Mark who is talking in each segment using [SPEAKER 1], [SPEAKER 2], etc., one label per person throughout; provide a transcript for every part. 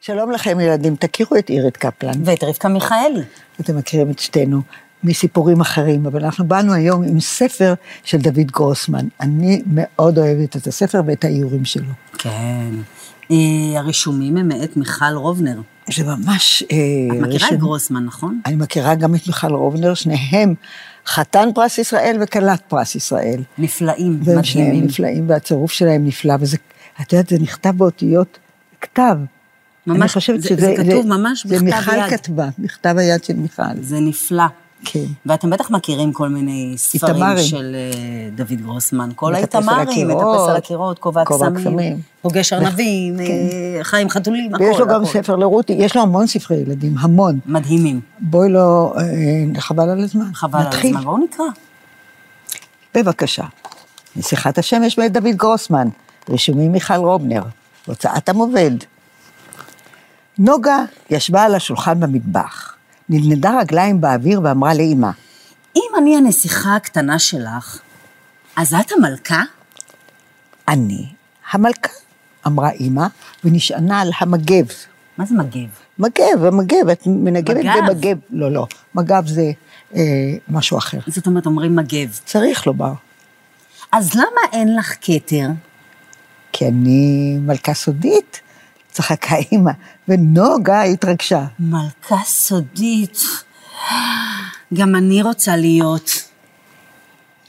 [SPEAKER 1] שלום לכם, ילדים. תכירו את אירית קפלן.
[SPEAKER 2] ואת רבקה מיכאלי.
[SPEAKER 1] אתם מכירים את שתינו מסיפורים אחרים, אבל אנחנו באנו היום עם ספר של דוד גרוסמן. אני מאוד אוהבת את הספר ואת האיורים שלו.
[SPEAKER 2] כן. אה, הרישומים הם מאת מיכל רובנר.
[SPEAKER 1] זה ממש... אה,
[SPEAKER 2] את מכירה
[SPEAKER 1] ראשון-
[SPEAKER 2] את גרוסמן, נכון?
[SPEAKER 1] אני מכירה גם את מיכל רובנר, שניהם חתן פרס ישראל וכלת פרס ישראל.
[SPEAKER 2] נפלאים,
[SPEAKER 1] והם שניהם
[SPEAKER 2] מדהימים.
[SPEAKER 1] נפלאים, והצירוף שלהם נפלא, וזה, את יודעת, זה נכתב באותיות כתב. אני
[SPEAKER 2] ממש-
[SPEAKER 1] חושבת
[SPEAKER 2] זה-
[SPEAKER 1] שזה...
[SPEAKER 2] זה כתוב ממש בכתב
[SPEAKER 1] זה מיכל
[SPEAKER 2] יד.
[SPEAKER 1] כתבה, מכתב היד של מיכל.
[SPEAKER 2] זה נפלא.
[SPEAKER 1] כן.
[SPEAKER 2] ואתם בטח מכירים כל מיני ספרים
[SPEAKER 1] איתמרים.
[SPEAKER 2] של אה, דוד גרוסמן. כל
[SPEAKER 1] מטפס על
[SPEAKER 2] האיתמרים, מטפס
[SPEAKER 1] הקירות,
[SPEAKER 2] על הקירות, כובע
[SPEAKER 1] כובע
[SPEAKER 2] קסמים,
[SPEAKER 1] קסמים. כן.
[SPEAKER 2] פוגש ארנבים, אה, חיים חתולים, הכל,
[SPEAKER 1] ויש לו גם
[SPEAKER 2] הכל.
[SPEAKER 1] ספר לרותי, יש לו המון ספרי ילדים, המון.
[SPEAKER 2] מדהימים.
[SPEAKER 1] בואי לא, אה, חבל על הזמן.
[SPEAKER 2] חבל על
[SPEAKER 1] נתחיל.
[SPEAKER 2] הזמן, בואו נקרא.
[SPEAKER 1] בבקשה. נסיכת השמש מאת דוד גרוסמן, רישומים מיכל רובנר, הוצאת המובד. נוגה ישבה על השולחן במטבח, נדנדה רגליים באוויר ואמרה לאימא,
[SPEAKER 2] אם אני הנסיכה הקטנה שלך, אז את המלכה?
[SPEAKER 1] אני המלכה, אמרה אימא, ונשענה על המגב.
[SPEAKER 2] מה זה מגב?
[SPEAKER 1] מגב, המגב, את מנגבת
[SPEAKER 2] מגב.
[SPEAKER 1] במגב. לא, לא, מגב זה אה, משהו אחר.
[SPEAKER 2] זאת אומרת, אומרים מגב.
[SPEAKER 1] צריך לומר,
[SPEAKER 2] אז למה אין לך כתר?
[SPEAKER 1] כי אני מלכה סודית, צחקה אימא, ונוגה התרגשה.
[SPEAKER 2] מלכה סודית. גם אני רוצה להיות.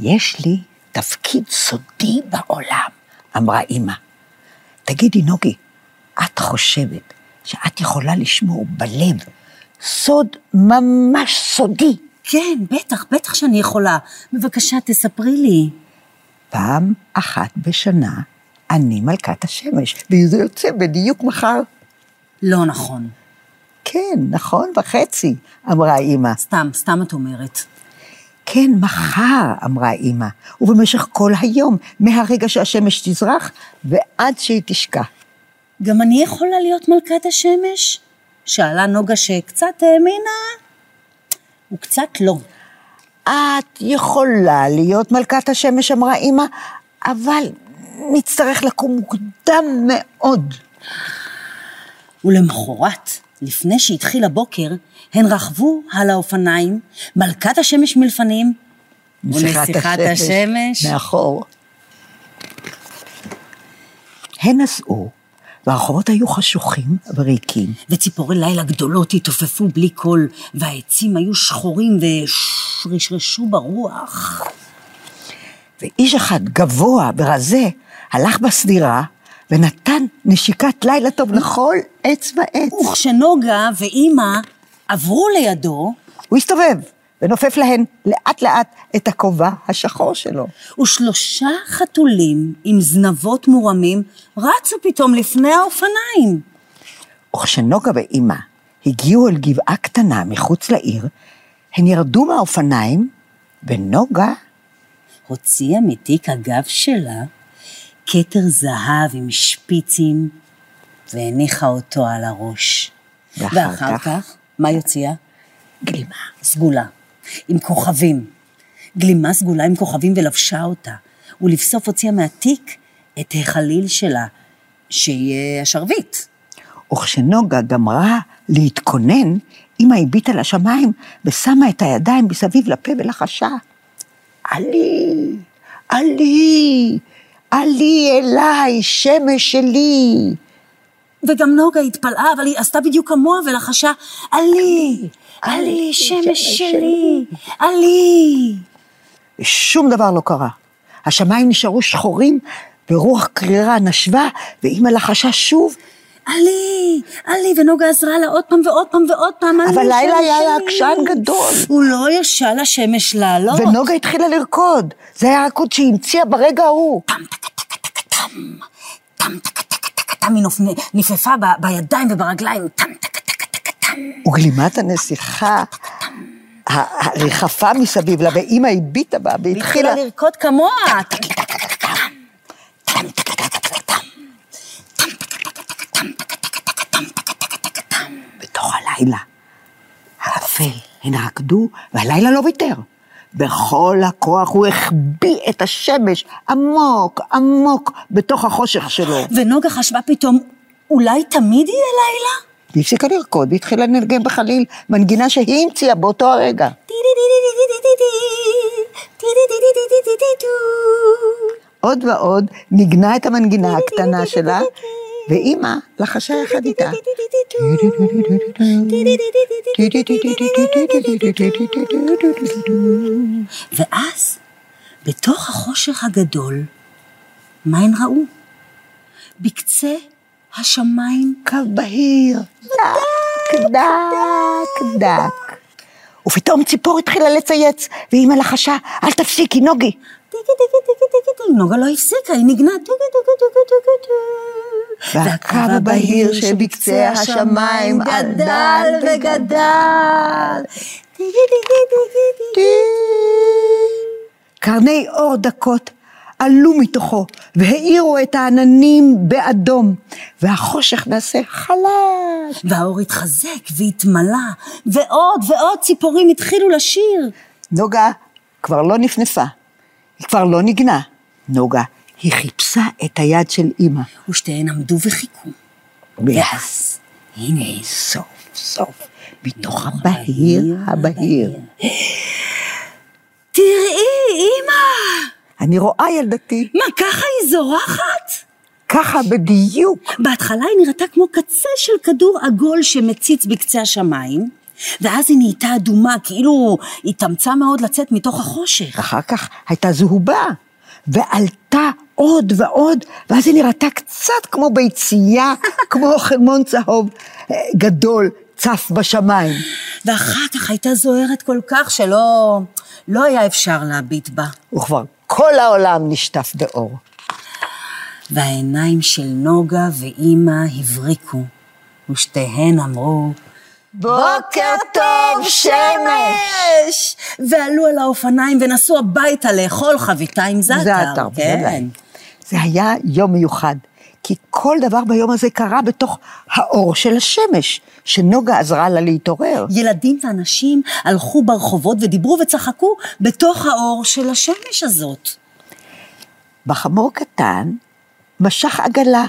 [SPEAKER 1] יש לי תפקיד סודי בעולם, אמרה אימא. תגידי, נוגי, את חושבת שאת יכולה לשמור בלב סוד ממש סודי?
[SPEAKER 2] כן, בטח, בטח שאני יכולה. בבקשה, תספרי לי.
[SPEAKER 1] פעם אחת בשנה אני מלכת השמש, וזה יוצא בדיוק מחר.
[SPEAKER 2] לא נכון.
[SPEAKER 1] כן, נכון וחצי, אמרה אימא.
[SPEAKER 2] סתם, סתם את אומרת.
[SPEAKER 1] כן, מחר, אמרה אימא, ובמשך כל היום, מהרגע שהשמש תזרח ועד שהיא תשקע.
[SPEAKER 2] גם אני יכולה להיות מלכת השמש? שאלה נוגה שקצת האמינה, וקצת לא.
[SPEAKER 1] את יכולה להיות מלכת השמש, אמרה אימא, אבל נצטרך לקום מוקדם מאוד.
[SPEAKER 2] ולמחרת, לפני שהתחיל הבוקר, הן רכבו על האופניים, מלכת השמש מלפנים, ונסיכת השמש.
[SPEAKER 1] מאחור. הן נסעו, והרחובות היו חשוכים וריקים.
[SPEAKER 2] וציפורי לילה גדולות התעופפו בלי קול, והעצים היו שחורים ושרשרשו ברוח.
[SPEAKER 1] ואיש אחד גבוה ורזה הלך בסדירה ונתן נשיקת לילה טוב לכל עץ ועץ.
[SPEAKER 2] וכשנוגה ואימא עברו לידו,
[SPEAKER 1] הוא הסתובב ונופף להן לאט לאט את הכובע השחור שלו.
[SPEAKER 2] ושלושה חתולים עם זנבות מורמים רצו פתאום לפני האופניים.
[SPEAKER 1] וכשנוגה ואימא הגיעו אל גבעה קטנה מחוץ לעיר, הן ירדו מהאופניים, ונוגה,
[SPEAKER 2] הוציאה מתיק הגב שלה כתר זהב עם שפיצים, והניחה אותו על הראש.
[SPEAKER 1] ואחר
[SPEAKER 2] ואחר
[SPEAKER 1] כך?
[SPEAKER 2] כך, מה היא הוציאה?
[SPEAKER 1] גלימה.
[SPEAKER 2] סגולה, עם כוכבים. גלימה סגולה עם כוכבים ולבשה אותה, ולבסוף הוציאה מהתיק את החליל שלה, שהיא אה, השרביט.
[SPEAKER 1] וכשנוגה גמרה להתכונן, אמא הביטה לשמיים ושמה את הידיים מסביב לפה ולחשה. עלי, עלי, עלי אליי, שמש שלי.
[SPEAKER 2] וגם נוגה התפלאה, אבל היא עשתה בדיוק כמוה ולחשה, עלי, עלי, שמש שלי, עלי.
[SPEAKER 1] ושום דבר לא קרה. השמיים נשארו שחורים, ורוח קרירה נשבה, ואימא לחשה שוב,
[SPEAKER 2] עלי, עלי, ונוגה עזרה לה עוד פעם ועוד פעם ועוד פעם, עלי,
[SPEAKER 1] אבל לילה
[SPEAKER 2] שמש
[SPEAKER 1] היה לה
[SPEAKER 2] שלי.
[SPEAKER 1] עקשן גדול.
[SPEAKER 2] הוא לא ירשה לשמש לעלות.
[SPEAKER 1] ונוגה התחילה לרקוד. זה היה רקוד שהיא המציאה ברגע ההוא.
[SPEAKER 2] טם טק טק טק טם, טם טק טק טק טם, היא נופ- נפנפה ב- בידיים וברגליים, טם טק טק טק טם.
[SPEAKER 1] וגלימת הנסיכה, ה- הריחפה מסביב לה, ואימא הביטה בה,
[SPEAKER 2] היא
[SPEAKER 1] והתחילה...
[SPEAKER 2] התחילה לרקוד כמוה, טם טק טק טק טם, טם טק טק טק טק טם.
[SPEAKER 1] בתוך הלילה. האפל, הן רקדו, והלילה לא ויתר. בכל הכוח הוא החביא את השמש עמוק, עמוק, בתוך החושך שלו.
[SPEAKER 2] ונוגה חשבה פתאום, אולי תמיד יהיה לילה?
[SPEAKER 1] היא הפסיקה לרקוד והתחילה לנגן בחליל מנגינה שהיא המציאה באותו הרגע. עוד ועוד ניגנה את המנגינה הקטנה שלה, ואימא לחשה יחד איתה.
[SPEAKER 2] ואז, בתוך החושך הגדול, מה הן ראו? בקצה השמיים
[SPEAKER 1] קו בהיר, דק, דק, דק. ופתאום ציפור התחילה לצייץ, ואימא לחשה, אל תפסיקי, נוגי.
[SPEAKER 2] טיקי טיקי טיקי טיקי טיקי, נוגה לא הפסיקה, היא ניגנה טיקי טיקי טיקי טיקי טיקי.
[SPEAKER 1] והקו הבהיר שבקצה השמיים גדל וגדל.
[SPEAKER 2] טיקי טיקי טיקי טיקי.
[SPEAKER 1] קרני אור דקות עלו מתוכו והאירו את העננים באדום, והחושך נעשה חלש.
[SPEAKER 2] והאור התחזק והתמלא, ועוד ועוד ציפורים התחילו לשיר.
[SPEAKER 1] נוגה כבר לא נפנפה, היא כבר לא ניגנה. נוגה, היא חיפשה את היד של אימא.
[SPEAKER 2] ושתיהן עמדו וחיכו. ואז, הנה,
[SPEAKER 1] סוף סוף, מתוך הבהיר הבהיר.
[SPEAKER 2] תראי, אמא!
[SPEAKER 1] אני רואה ילדתי,
[SPEAKER 2] מה, ככה היא זורחת?
[SPEAKER 1] ככה בדיוק.
[SPEAKER 2] בהתחלה היא נראתה כמו קצה של כדור עגול שמציץ בקצה השמיים, ואז היא נהייתה אדומה, כאילו היא התאמצה מאוד לצאת מתוך החושך.
[SPEAKER 1] אחר כך הייתה זהובה, ועלתה עוד ועוד, ואז היא נראתה קצת כמו ביצייה, כמו חלמון צהוב אה, גדול, צף בשמיים.
[SPEAKER 2] ואחר כך הייתה זוהרת כל כך שלא... לא היה אפשר להביט בה.
[SPEAKER 1] וכבר כל העולם נשטף באור.
[SPEAKER 2] והעיניים של נוגה ואימא הבריקו, ושתיהן אמרו,
[SPEAKER 1] בוקר טוב, שמש!
[SPEAKER 2] ועלו על האופניים ונסעו הביתה לאכול חביתה עם זעתר.
[SPEAKER 1] זעתר,
[SPEAKER 2] כן.
[SPEAKER 1] בוודאי. זה היה יום מיוחד, כי כל דבר ביום הזה קרה בתוך האור של השמש, שנוגה עזרה לה להתעורר.
[SPEAKER 2] ילדים ואנשים הלכו ברחובות ודיברו וצחקו בתוך האור של השמש הזאת.
[SPEAKER 1] בחמור קטן משך עגלה,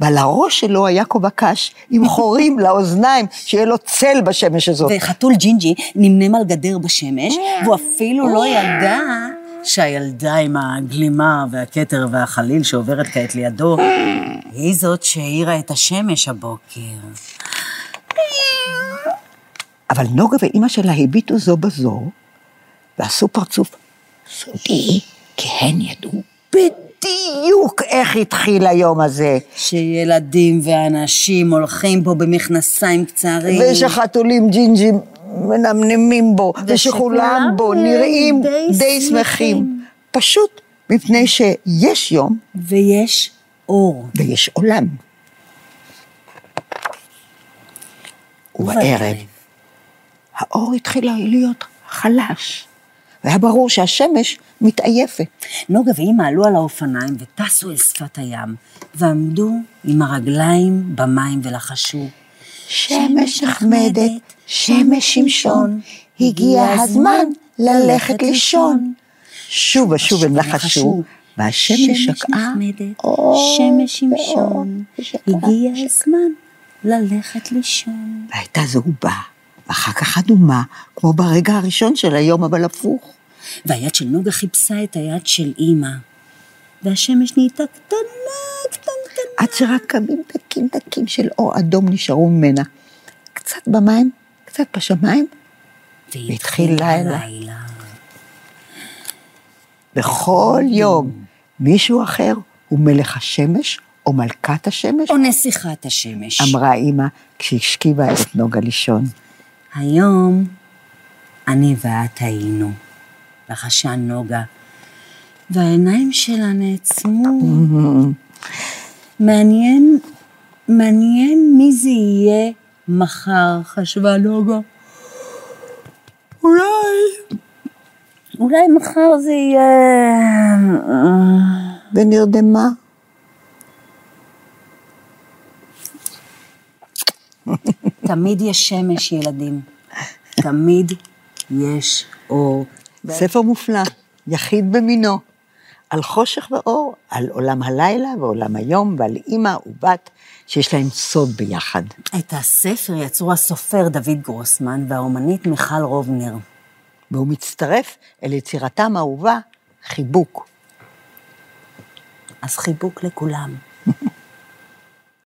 [SPEAKER 1] ועל הראש שלו היה כובע קש עם חורים לאוזניים, שיהיה לו צל בשמש הזאת.
[SPEAKER 2] וחתול ג'ינג'י נמנם על גדר בשמש, והוא אפילו לא ידע שהילדה עם הגלימה והכתר והחליל שעוברת כעת לידו, היא זאת שהאירה את השמש הבוקר.
[SPEAKER 1] אבל נוגה ואימא שלה הביטו זו בזו, ועשו פרצוף סודי, כי הן ידעו בדיוק איך התחיל היום הזה,
[SPEAKER 2] שילדים ואנשים הולכים פה במכנסיים קצרים.
[SPEAKER 1] ושחתולים ג'ינג'ים מנמנמים בו, ושכולם
[SPEAKER 2] ושכולם,
[SPEAKER 1] בו
[SPEAKER 2] אה,
[SPEAKER 1] נראים
[SPEAKER 2] די
[SPEAKER 1] די שמחים.
[SPEAKER 2] שמחים.
[SPEAKER 1] פשוט מפני שיש יום
[SPEAKER 2] ויש אור.
[SPEAKER 1] ויש עולם. ובערב, האור התחיל להיות חלש, והיה ברור שהשמש מתעייפת.
[SPEAKER 2] נוגה ואימא עלו על האופניים וטסו אל שפת הים, ועמדו עם הרגליים במים ולחשו.
[SPEAKER 1] שמש נחמדת, שמש שמשון, הגיע הזמן ללכת לישון. שוב ושוב הם לחשו, והשמש שקעה. אור,
[SPEAKER 2] שמש
[SPEAKER 1] ואור,
[SPEAKER 2] שמשון,
[SPEAKER 1] ושקעה.
[SPEAKER 2] הגיע הזמן ללכת לישון.
[SPEAKER 1] והייתה זהובה, ואחר כך אדומה, כמו ברגע הראשון של היום, אבל הפוך.
[SPEAKER 2] והיד של נוגה חיפשה את היד של אימא, והשמש נהייתה קטנה, קטנטנה.
[SPEAKER 1] עד שרק קווים דקים דקים של אור אדום נשארו ממנה. קצת במים, קצת בשמיים, והתחיל לילה.
[SPEAKER 2] לילה.
[SPEAKER 1] וכל יום מישהו אחר הוא מלך השמש או מלכת השמש,
[SPEAKER 2] או נסיכת השמש.
[SPEAKER 1] אמרה אימא כשהשכיבה את נוגה לישון.
[SPEAKER 2] היום אני ואת היינו, לחשה נוגה, והעיניים שלה נעצמו. מעניין, מעניין מי זה יהיה מחר, חשבה נוגה. אולי, אולי מחר זה יהיה... אה,
[SPEAKER 1] ונרדמה.
[SPEAKER 2] תמיד יש שמש, ילדים. תמיד יש אור.
[SPEAKER 1] ספר מופלא, יחיד במינו, על חושך ואור, על עולם הלילה ועולם היום ועל אימא ובת שיש להם סוד ביחד.
[SPEAKER 2] את הספר יצרו הסופר דוד גרוסמן והאומנית מיכל רובנר.
[SPEAKER 1] והוא מצטרף אל יצירתם האהובה, חיבוק.
[SPEAKER 2] אז חיבוק לכולם.